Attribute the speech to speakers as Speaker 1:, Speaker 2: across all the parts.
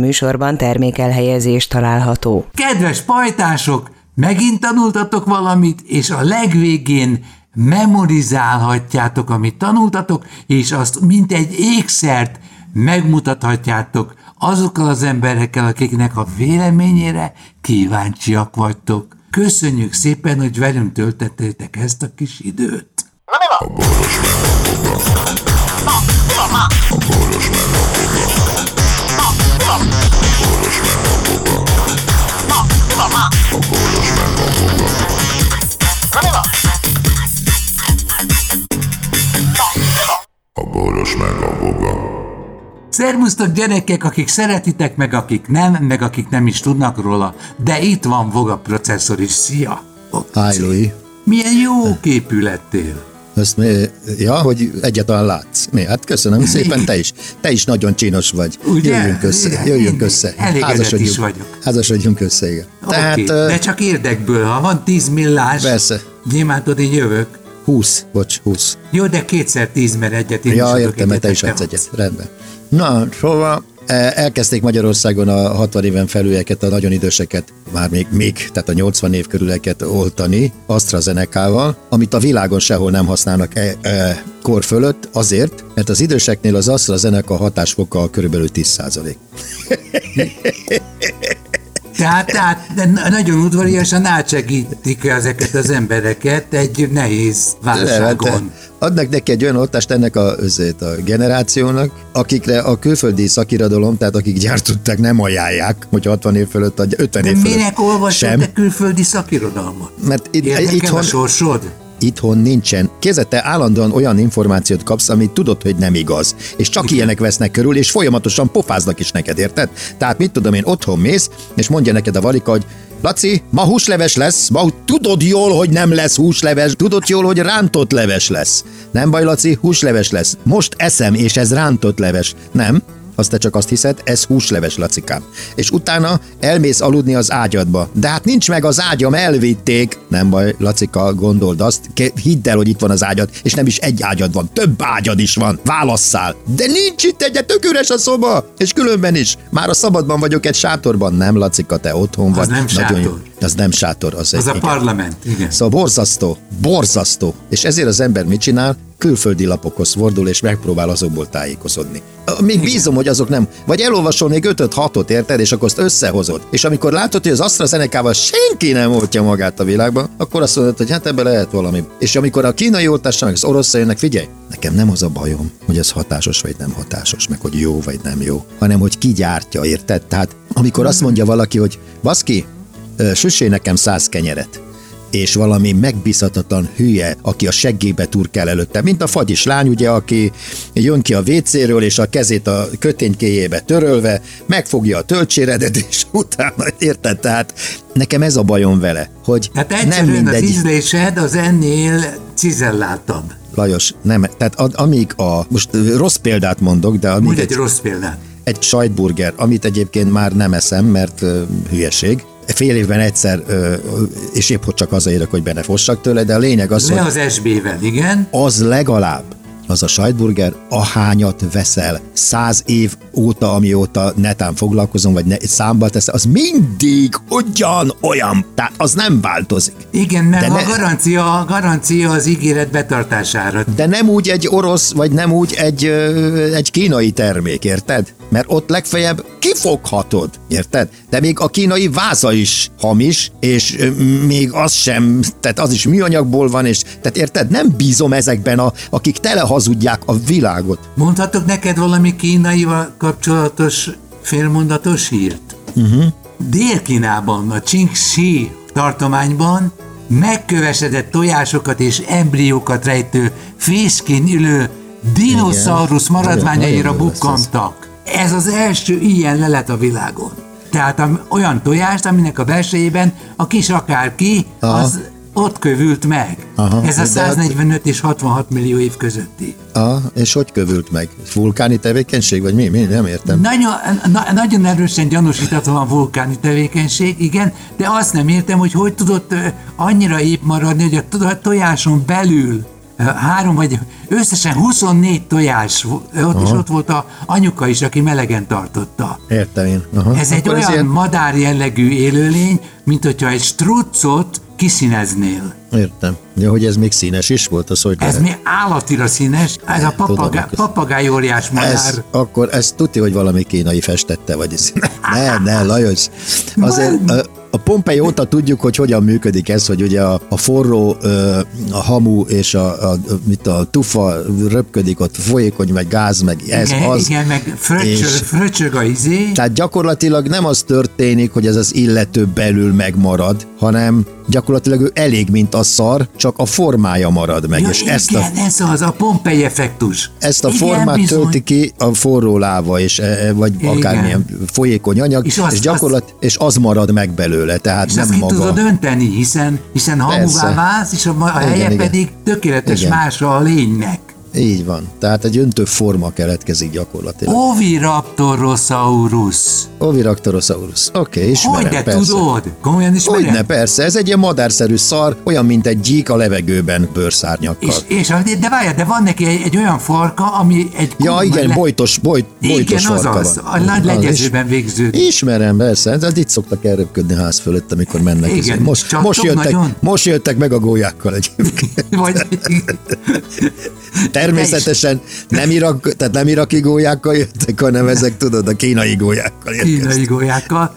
Speaker 1: műsorban termékelhelyezés található.
Speaker 2: Kedves pajtások, megint tanultatok valamit, és a legvégén memorizálhatjátok, amit tanultatok, és azt mint egy ékszert megmutathatjátok azokkal az emberekkel, akiknek a véleményére kíváncsiak vagytok. Köszönjük szépen, hogy velünk töltöttétek ezt a kis időt.
Speaker 3: Na mi van?
Speaker 4: A boros meg a boga.
Speaker 2: Szervusztok gyerekek, akik szeretitek, meg akik nem, meg akik nem is tudnak róla, de itt van Voga processzor is, szia!
Speaker 5: Hi, Louis.
Speaker 2: Milyen jó képű lettél!
Speaker 5: Ezt mi, ja, hogy egyáltalán látsz. Mi? Hát köszönöm szépen, te is. Te is nagyon csinos vagy.
Speaker 2: Ugye?
Speaker 5: Jöjjünk össze.
Speaker 2: Igen,
Speaker 5: Jöjjünk
Speaker 2: mindig.
Speaker 5: össze.
Speaker 2: Elégedett
Speaker 5: Házasodjunk-
Speaker 2: is vagyok.
Speaker 5: Házasodjunk össze, igen.
Speaker 2: Tehát, okay,
Speaker 5: ö,
Speaker 2: de csak érdekből, ha van 10 millás,
Speaker 5: Persze.
Speaker 2: nyilván tudod, én jövök.
Speaker 5: 20, bocs, 20.
Speaker 2: Jó, de kétszer 10, mert egyet én is
Speaker 5: Ja,
Speaker 2: adok
Speaker 5: értem, mert te is
Speaker 2: te
Speaker 5: adsz
Speaker 2: adsz.
Speaker 5: egyet. Rendben. Na, szóval eh, elkezdték Magyarországon a 60 éven felülieket, a nagyon időseket, már még, még, tehát a 80 év körüleket oltani AstraZeneca-val, amit a világon sehol nem használnak e, e, kor fölött, azért, mert az időseknél az AstraZeneca hatásfoka körülbelül 10 százalék.
Speaker 2: Tehát, tehát de na- nagyon udvariasan átsegítik ezeket az embereket egy nehéz válságon.
Speaker 5: Adnak neki egy olyan oltást ennek a, azért a generációnak, akikre a külföldi szakirodalom, tehát akik gyártották, nem ajánlják, hogy 60 év fölött, vagy 50
Speaker 2: De
Speaker 5: év fölött.
Speaker 2: minek olvasod
Speaker 5: sem.
Speaker 2: te külföldi szakirodalmat?
Speaker 5: Mert itt,
Speaker 2: Érdekel a
Speaker 5: itthon,
Speaker 2: sorsod?
Speaker 5: itthon nincsen. Kézete állandóan olyan információt kapsz, amit tudod, hogy nem igaz. És csak ilyenek vesznek körül, és folyamatosan pofáznak is neked, érted? Tehát mit tudom én, otthon mész, és mondja neked a valika, hogy Laci, ma húsleves lesz, ma tudod jól, hogy nem lesz húsleves, tudod jól, hogy rántott leves lesz. Nem baj, Laci, húsleves lesz. Most eszem, és ez rántott leves. Nem, azt te csak azt hiszed, ez húsleves, lacikám. És utána elmész aludni az ágyadba. De hát nincs meg az ágyam, elvitték. Nem baj, Lacika, gondold azt, Ké- hidd el, hogy itt van az ágyad, és nem is egy ágyad van, több ágyad is van. Válasszál. De nincs itt egyet, tök üres a szoba. És különben is. Már a szabadban vagyok egy sátorban. Nem, Lacika, te otthon vagy.
Speaker 2: nem
Speaker 5: jó.
Speaker 2: sátor.
Speaker 5: Az nem sátor, az,
Speaker 2: Az
Speaker 5: egy,
Speaker 2: a parlament, igen.
Speaker 5: Szóval borzasztó, borzasztó. És ezért az ember mit csinál? Külföldi lapokhoz fordul, és megpróbál azokból tájékozódni. Ö, Még bízom, hogy azok nem. Vagy elolvasol még 5-6-ot, érted, és akkor azt összehozod. És amikor látod, hogy az AstraZeneca-val senki nem oltja magát a világban, akkor azt mondod, hogy hát ebbe lehet valami. És amikor a kínai oltásra, meg az orosz jönnek, figyelj, nekem nem az a bajom, hogy az hatásos vagy nem hatásos, meg hogy jó vagy nem jó, hanem hogy ki gyártja, érted? Tehát amikor azt mondja valaki, hogy baszki, ö, süssé nekem száz kenyeret, és valami megbízhatatlan hülye, aki a seggébe turkál előtte, mint a fagyis lány, ugye, aki jön ki a WC-ről, és a kezét a köténykéjébe törölve, megfogja a töltséredet, és utána, érted? Tehát nekem ez a bajom vele, hogy
Speaker 2: Tehát
Speaker 5: nem
Speaker 2: Hát egyszerűen az
Speaker 5: mindegy.
Speaker 2: ízlésed az ennél cizellátabb.
Speaker 5: Lajos, nem, tehát ad, amíg a, most ö, rossz példát mondok, de amíg
Speaker 2: Mondj egy rossz példát.
Speaker 5: egy sajtburger, amit egyébként már nem eszem, mert ö, hülyeség. Fél évben egyszer, ö, és épp hogy csak hazaérek, hogy benne fossak tőle, de a lényeg az,
Speaker 2: Le
Speaker 5: hogy
Speaker 2: az SB-vel, igen.
Speaker 5: az legalább az a sajtburger, ahányat veszel száz év óta, amióta netán foglalkozom, vagy ne, számba teszem, az mindig ugyanolyan, tehát az nem változik.
Speaker 2: Igen, mert
Speaker 5: De
Speaker 2: a
Speaker 5: ne-
Speaker 2: garancia, a garancia az ígéret betartására.
Speaker 5: De nem úgy egy orosz, vagy nem úgy egy, ö, egy kínai termék, érted? Mert ott legfeljebb kifoghatod, érted? De még a kínai váza is hamis, és ö, még az sem, tehát az is műanyagból van, és tehát érted? Nem bízom ezekben, a, akik telehazudják a világot.
Speaker 2: Mondhatok neked valami kínaival kapcsolatos félmondatos hírt?
Speaker 5: Mhm.
Speaker 2: Uh-huh. Dél-Kínában, a Qingxi tartományban megkövesedett tojásokat és embriókat rejtő fészkén ülő dinoszaurusz
Speaker 5: Igen.
Speaker 2: maradványaira
Speaker 5: Nagyon, nagyon jó lesz ez.
Speaker 2: bukkantak. Ez az első ilyen lelet a világon. Tehát am- olyan tojást, aminek a belsejében a kis akárki,
Speaker 5: Aha.
Speaker 2: az ott kövült meg.
Speaker 5: Aha.
Speaker 2: Ez a
Speaker 5: De hát-
Speaker 2: 145 és 66 millió év közötti.
Speaker 5: Ah, és hogy kövült meg? Vulkáni tevékenység, vagy mi? mi? Nem értem.
Speaker 2: Nagyon, na, nagyon erősen gyanúsítható a vulkáni tevékenység, igen, de azt nem értem, hogy hogy tudott ö, annyira épp maradni, hogy a to- tojáson belül három vagy, összesen 24 tojás, volt, ott is ott volt a anyuka is, aki melegen tartotta.
Speaker 5: Értem én. Aha.
Speaker 2: Ez egy
Speaker 5: Akkor
Speaker 2: olyan
Speaker 5: ilyen-
Speaker 2: madár jellegű élőlény, mint hogyha egy struccot kiszíneznél.
Speaker 5: Értem. Ja, hogy ez még színes is volt, az hogy
Speaker 2: Ez
Speaker 5: lehet?
Speaker 2: mi állatira színes, ez a papagá,
Speaker 5: ez-
Speaker 2: papagáj óriás madár.
Speaker 5: Ez, akkor ez tudja, hogy valami kínai festette, vagy ez. Ne, ne, Lajos. Azért a, a Pompei óta tudjuk, hogy hogyan működik ez, hogy ugye a, a forró, ö, a hamu és a, a, mit a tufa röpködik, ott folyékony, meg gáz, meg ez,
Speaker 2: igen,
Speaker 5: az.
Speaker 2: igen, meg fröcsög,
Speaker 5: és-
Speaker 2: fröcsög a izé.
Speaker 5: Tehát gyakorlatilag nem az történik, hogy ez az illető belül megmarad, hanem gyakorlatilag ő elég, mint a szar, csak a formája marad meg,
Speaker 2: Ja,
Speaker 5: és
Speaker 2: igen,
Speaker 5: ezt a
Speaker 2: ez az, a Pompei effektus.
Speaker 5: ezt a
Speaker 2: igen,
Speaker 5: formát
Speaker 2: bizony.
Speaker 5: tölti ki a forró láva, és, e, e, vagy
Speaker 2: Igen.
Speaker 5: akármilyen folyékony anyag,
Speaker 2: És
Speaker 5: és,
Speaker 2: azt-
Speaker 5: és, gyakorlat, és az marad meg belőle, tehát
Speaker 2: És
Speaker 5: nem
Speaker 2: azt ki
Speaker 5: maga.
Speaker 2: tudod önteni, hiszen, hiszen hamuvá
Speaker 5: Persze.
Speaker 2: válsz, és a, ma- a
Speaker 5: Igen,
Speaker 2: helye
Speaker 5: igen.
Speaker 2: pedig tökéletes
Speaker 5: Igen.
Speaker 2: mása a lénynek.
Speaker 5: Így van. Tehát egy öntő forma keletkezik gyakorlatilag.
Speaker 2: Oviraptorosaurus.
Speaker 5: Oviraptorosaurus. Oké, okay, ismerem,
Speaker 2: Hogy de
Speaker 5: persze.
Speaker 2: tudod? Komolyan ismered?
Speaker 5: Hogyne, persze, ez egy ilyen madárszerű szar, olyan, mint egy gyík a levegőben bőrszárnyakkal.
Speaker 2: És, és, a- de várjál, de van neki egy, egy olyan farka, ami egy...
Speaker 5: Ja,
Speaker 2: kurva
Speaker 5: igen, bojtos, bojt, bojtos
Speaker 2: Igen, az
Speaker 5: farka
Speaker 2: az.
Speaker 5: van.
Speaker 2: A nagy
Speaker 5: Az is.
Speaker 2: legyezőben végződik.
Speaker 5: Ismerem, persze, de itt szoktak elröpködni ház fölött, amikor mennek.
Speaker 2: Igen,
Speaker 5: ezen. most,
Speaker 2: csaptok
Speaker 5: most, jöttek,
Speaker 2: nagyon?
Speaker 5: most jöttek meg a gólyákkal egyébként.
Speaker 2: Vagy...
Speaker 5: Természetesen nem, irak, tehát nem iraki gólyákkal jöttek, hanem ezek, tudod, a kínai gólyákkal
Speaker 2: kínai
Speaker 5: érkeztek.
Speaker 2: golyákkal.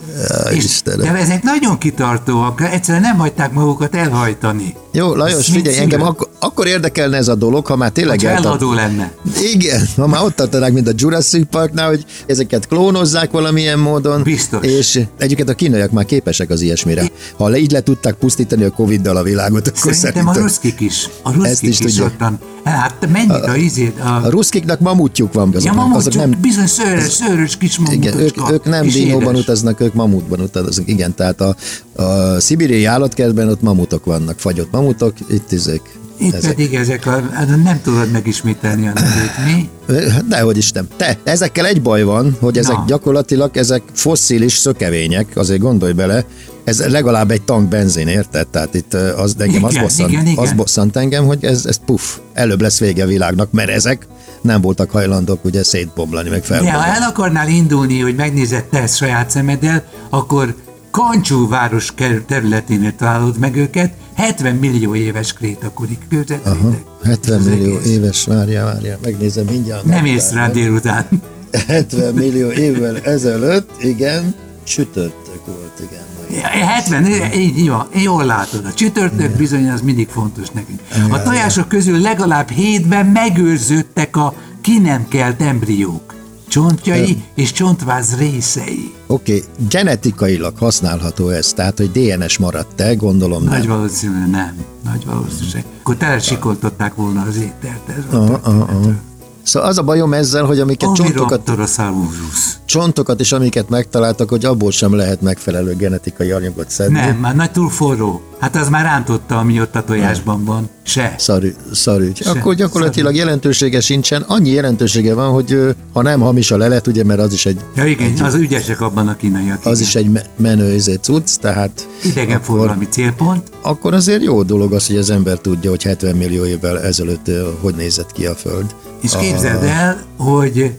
Speaker 2: És-
Speaker 5: Istenem.
Speaker 2: de ezek nagyon kitartóak, egyszerűen nem hagyták magukat elhajtani.
Speaker 5: Jó, Lajos,
Speaker 2: mit
Speaker 5: figyelj, engem
Speaker 2: szülő?
Speaker 5: ak- akkor érdekelne ez a dolog, ha már tényleg
Speaker 2: Ha
Speaker 5: eltart-
Speaker 2: eladó lenne.
Speaker 5: Igen, ha már ott tartanák, mint a Jurassic Parknál, hogy ezeket klónozzák valamilyen módon.
Speaker 2: Biztos.
Speaker 5: És egyébként a kínaiak már képesek az ilyesmire. Ha le, így le tudták pusztítani a Covid-dal a világot, akkor
Speaker 2: Szerintem
Speaker 5: szerintem...
Speaker 2: a ruszkik is. A
Speaker 5: Ezt
Speaker 2: ruszkik
Speaker 5: is
Speaker 2: is,
Speaker 5: tudja.
Speaker 2: ottan. Hát mennyit a izét? A,
Speaker 5: A ruszkiknak mamutjuk van, azok,
Speaker 2: ja,
Speaker 5: nem,
Speaker 2: mamut,
Speaker 5: azok
Speaker 2: csak
Speaker 5: nem...
Speaker 2: bizony szőrös, szőrös kis
Speaker 5: Igen, ők, ők nem dinóban utaznak, ők mamutban utaznak. Igen, tehát a, a szibériai állatkertben ott mamutok vannak, fagyott mamutok, itt izék.
Speaker 2: Itt
Speaker 5: ezek.
Speaker 2: pedig ezek a, hát nem tudod megismételni a nevét, mi?
Speaker 5: Hát Dehogy is nem. Te, ezekkel egy baj van, hogy ezek
Speaker 2: Na.
Speaker 5: gyakorlatilag ezek fosszilis szökevények, azért gondolj bele, ez legalább egy tank benzin, érted? Tehát itt ö, az, engem igen, az,
Speaker 2: Igen,
Speaker 5: bosszant,
Speaker 2: igen, igen.
Speaker 5: az bosszant engem, hogy ez, ez puff, előbb lesz vége a világnak, mert ezek nem voltak hajlandók ugye szétbomlani, meg
Speaker 2: De ha
Speaker 5: felbomlani.
Speaker 2: el akarnál indulni, hogy megnézed te ezt saját szemeddel, akkor Kancsú város kerül- területénél találod meg őket, 70 millió éves krétakorik
Speaker 5: Aha,
Speaker 2: kőzetvétek.
Speaker 5: 70
Speaker 2: Ez az
Speaker 5: millió
Speaker 2: egész.
Speaker 5: éves, várja, várja, megnézem mindjárt.
Speaker 2: Nem ész rá délután.
Speaker 5: 70 millió évvel ezelőtt, igen, csütörtök volt, igen. mai.
Speaker 2: Ja, 70, így így van, jól látod. A csütörtök bizony az mindig fontos nekünk. A tojások közül legalább hétben megőrződtek a ki nem kelt embriók, csontjai és csontváz részei.
Speaker 5: Oké, okay, genetikailag használható ez, tehát hogy DNS maradt te, gondolom
Speaker 2: Nagy
Speaker 5: nem.
Speaker 2: valószínűleg nem. Nagy valószínűleg. Akkor telesikoltották volna az ételt. Ez volt.
Speaker 5: Aha, aha, aha. Szóval az a bajom ezzel, hogy amiket csontokat,
Speaker 2: Oviraptorosaurus.
Speaker 5: csontokat és amiket megtaláltak, hogy abból sem lehet megfelelő genetikai anyagot szedni.
Speaker 2: Nem, már nagy túl forró. Hát az már rántotta, ami ott a tojásban van. Se.
Speaker 5: Szarű, szarű. Akkor gyakorlatilag jelentősége sincsen. Annyi jelentősége van, hogy ö, ha nem hamis a lelet, ugye, mert az is egy,
Speaker 2: Ja igen, az ügyesek abban a kínaiak.
Speaker 5: az
Speaker 2: igen.
Speaker 5: is egy me- menő izé cucc, tehát
Speaker 2: Idegenforgalmi célpont.
Speaker 5: akkor azért jó dolog az, hogy az ember tudja, hogy 70 millió évvel ezelőtt ö, hogy nézett ki a Föld.
Speaker 2: És képzeld el, hogy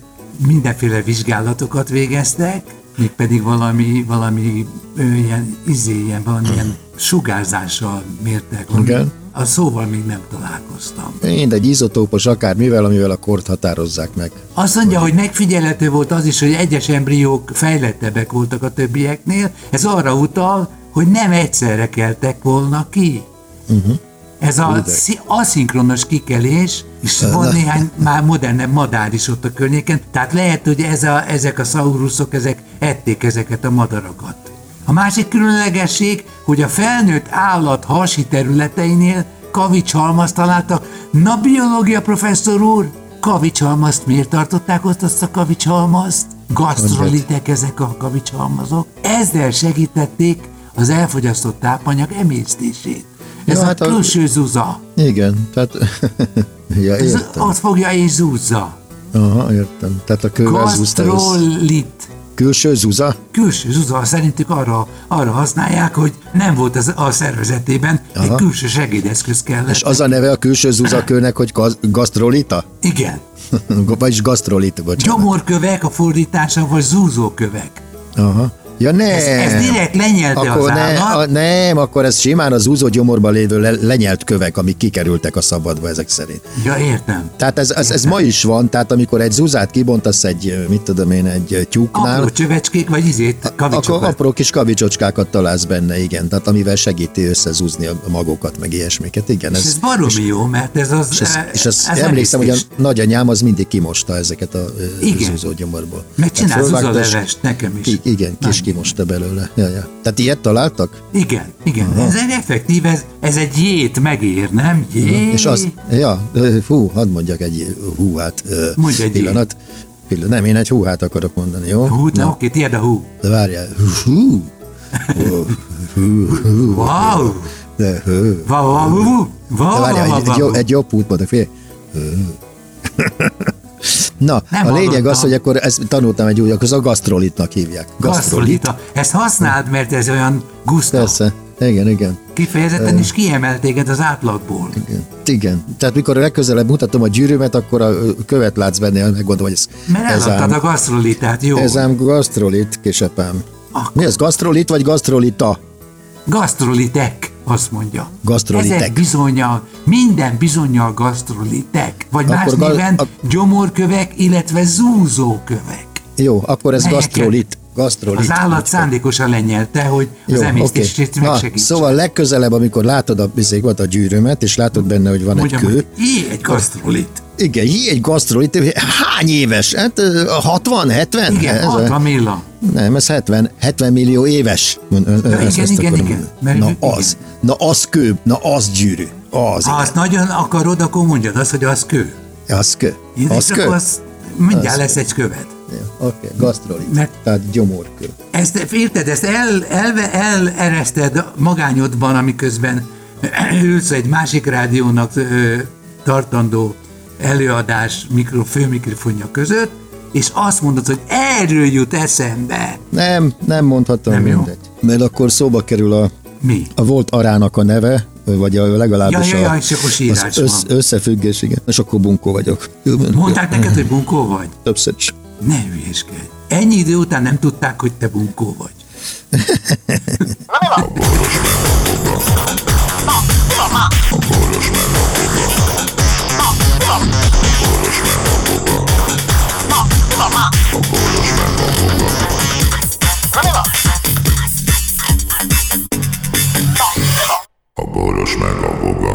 Speaker 2: mindenféle vizsgálatokat végeztek, mégpedig valami, valami ö, ilyen, izé, ilyen, valamilyen sugárzással mértek. ami-
Speaker 5: Igen.
Speaker 2: A szóval még nem találkoztam.
Speaker 5: Mindegy, izotópos akármivel, amivel a kort határozzák meg.
Speaker 2: Azt mondja, hogy megfigyelhető volt az is, hogy egyes embriók fejlettebbek voltak a többieknél. Ez arra utal, hogy nem egyszerre keltek volna ki. Ez a szi- aszinkronos kikelés, és van néhány már modernebb madár is ott a környéken, tehát lehet, hogy ez a, ezek a szauruszok, ezek ették ezeket a madarakat. A másik különlegesség, hogy a felnőtt állat hasi területeinél kavicshalmazt találtak. Na, biológia professzor úr, kavicshalmazt miért tartották ott azt a kavicshalmazt? Gastrolitek ezek a kavicshalmazok. Ezzel segítették az elfogyasztott tápanyag emésztését. Ez
Speaker 5: Ja,
Speaker 2: a
Speaker 5: hát a-
Speaker 2: külső zuza.
Speaker 5: Igen, tehát... ja,
Speaker 2: Ez
Speaker 5: értem.
Speaker 2: azt fogja és zúzza.
Speaker 5: Aha, értem. Tehát a kővel zúzta össze.
Speaker 2: Gastrolit.
Speaker 5: Külső zúza?
Speaker 2: Külső zuza szerintük arra, arra használják, hogy nem volt az a szervezetében Aha. Egy külső segédeszköz kellett.
Speaker 5: És az a neve a külső zuzakőnek, hogy gaz- gasztrolita?
Speaker 2: Igen.
Speaker 5: Vagyis gasztrolita, bocsánat.
Speaker 2: Gyomorkövek a fordítása, vagy zúzókövek.
Speaker 5: Aha. Ja ne!
Speaker 2: Ez, ez direkt lenyelte
Speaker 5: Eh, akkor
Speaker 2: az
Speaker 5: ne,
Speaker 2: állat.
Speaker 5: a, nem, akkor ez simán az úzó gyomorban lévő le, lenyelt kövek, amik kikerültek a szabadba ezek szerint.
Speaker 2: Ja, értem.
Speaker 5: Tehát ez, ez, ez ma is van, tehát amikor egy zuzát kibontasz egy, mit tudom én, egy tyúknál,
Speaker 2: Apró csövecskék, vagy izét, kavicsokat.
Speaker 5: akkor apró kis kavicsocskákat találsz benne, igen, tehát amivel segíti összezúzni a magokat, meg ilyesmiket, igen.
Speaker 2: És ez baromi jó, mert ez az... eh,
Speaker 5: és, ez, és ez,
Speaker 2: ez
Speaker 5: emlékszem, hogy
Speaker 2: emésztés.
Speaker 5: a nagyanyám az mindig kimosta ezeket a
Speaker 2: Igen.
Speaker 5: zúzó gyomorból.
Speaker 2: Meg
Speaker 5: Tehát
Speaker 2: csinál
Speaker 5: fölvágta, és
Speaker 2: zuzalevest nekem is.
Speaker 5: Ki, igen, kis
Speaker 2: Nem.
Speaker 5: kimosta belőle. Ja, ja. Tehát ilyet találtak?
Speaker 2: Igen, igen. Ez egy effektív, ez, ez egy jét megér, nem? Jé.
Speaker 5: És az, ja, ö, fú, hadd mondjak egy húhát
Speaker 2: Mondj egy
Speaker 5: pillanat. Pillanat, nem, én egy húhát akarok mondani, jó?
Speaker 2: Hú, na,
Speaker 5: Na,
Speaker 2: oké, tiéd a hú.
Speaker 5: de várjál. Hú,
Speaker 2: Wow!
Speaker 5: de hú.
Speaker 2: Wow, wow, wow, wow,
Speaker 5: De várjál,
Speaker 2: wow,
Speaker 5: egy, egy,
Speaker 2: wow,
Speaker 5: jó,
Speaker 2: wow.
Speaker 5: egy jobb út mondok, figyelj. Na,
Speaker 2: Nem
Speaker 5: a lényeg az,
Speaker 2: hallottam.
Speaker 5: hogy akkor ezt tanultam egy új, akkor az a gasztrolitnak hívják.
Speaker 2: Gasztrolita. Ezt használd, mert ez olyan guszta.
Speaker 5: Persze, igen, igen.
Speaker 2: Kifejezetten is kiemel téged az átlagból.
Speaker 5: Igen. Igen. Tehát mikor legközelebb mutatom a gyűrűmet, akkor a ö, követ látsz benne, megmondom, hogy ez,
Speaker 2: Mert
Speaker 5: ez
Speaker 2: eladtad a gasztrolitát, jó?
Speaker 5: Ez ám gasztrolit, kisepám.
Speaker 2: Akkor-
Speaker 5: Mi ez, gasztrolit vagy gasztrolita?
Speaker 2: Gasztrolitek, azt mondja.
Speaker 5: Gasztrolitek.
Speaker 2: Ezek bizonyal, minden bizonyal gasztrolitek. Vagy
Speaker 5: Akkor
Speaker 2: más
Speaker 5: gal-
Speaker 2: néven
Speaker 5: ak-
Speaker 2: gyomorkövek, illetve zúzókövek.
Speaker 5: Jó, akkor ez
Speaker 2: Melyeket?
Speaker 5: gasztrolit. Gasztrolit.
Speaker 2: Az állat szándékosan lenyelte, hogy az emésztését
Speaker 5: Na,
Speaker 2: megsegítse.
Speaker 5: Szóval legközelebb, amikor látod a, izé, volt a gyűrűmet, és látod benne, hogy van
Speaker 2: Mondjam,
Speaker 5: egy kő.
Speaker 2: hogy így egy gasztrolit.
Speaker 5: Igen, hi, egy gasztrolit. Hány éves? Hát ö, 60, 70?
Speaker 2: Igen,
Speaker 5: ez,
Speaker 2: ez ott van Milla.
Speaker 5: Nem, ez 70, 70 millió éves. Ön- ön-
Speaker 2: Ja,
Speaker 5: ön- ezt-
Speaker 2: igen,
Speaker 5: ezt
Speaker 2: igen,
Speaker 5: akarom
Speaker 2: igen.
Speaker 5: mondani.
Speaker 2: Mert-
Speaker 5: Na
Speaker 2: igen.
Speaker 5: az, na az kő, na az gyűrű. Az,
Speaker 2: Ha azt nagyon akarod, akkor mondjad azt, hogy az kő.
Speaker 5: igen. az kő.
Speaker 2: És
Speaker 5: Az
Speaker 2: akkor
Speaker 5: kő.
Speaker 2: Az, mindjárt lesz egy követ.
Speaker 5: Ja, Oké, okay, gasztrolit.
Speaker 2: Mert-
Speaker 5: Tehát gyomorkő.
Speaker 2: Ezt érted, ezt el, elve, elereszted magányodban, amiközben ülsz egy másik rádiónak ö, tartandó előadás mikro, főmikrofonja között, és azt mondod, hogy erről jut eszembe.
Speaker 5: Nem, nem mondhatom
Speaker 2: Nem jó.
Speaker 5: mindegy. Mert akkor szóba kerül a,
Speaker 2: Mi?
Speaker 5: a volt arának a neve, vagy a legalábbis
Speaker 2: Ja, ja, ja,
Speaker 5: a,
Speaker 2: és akkor sírás
Speaker 5: az össz, összefüggés, igen. És akkor bunkó vagyok.
Speaker 2: Mondták neked, hogy bunkó vagy?
Speaker 5: Többször is.
Speaker 2: Ne hülyéskedj. Ennyi idő után nem tudták, hogy te bunkó vagy.
Speaker 4: A boros meg a boga.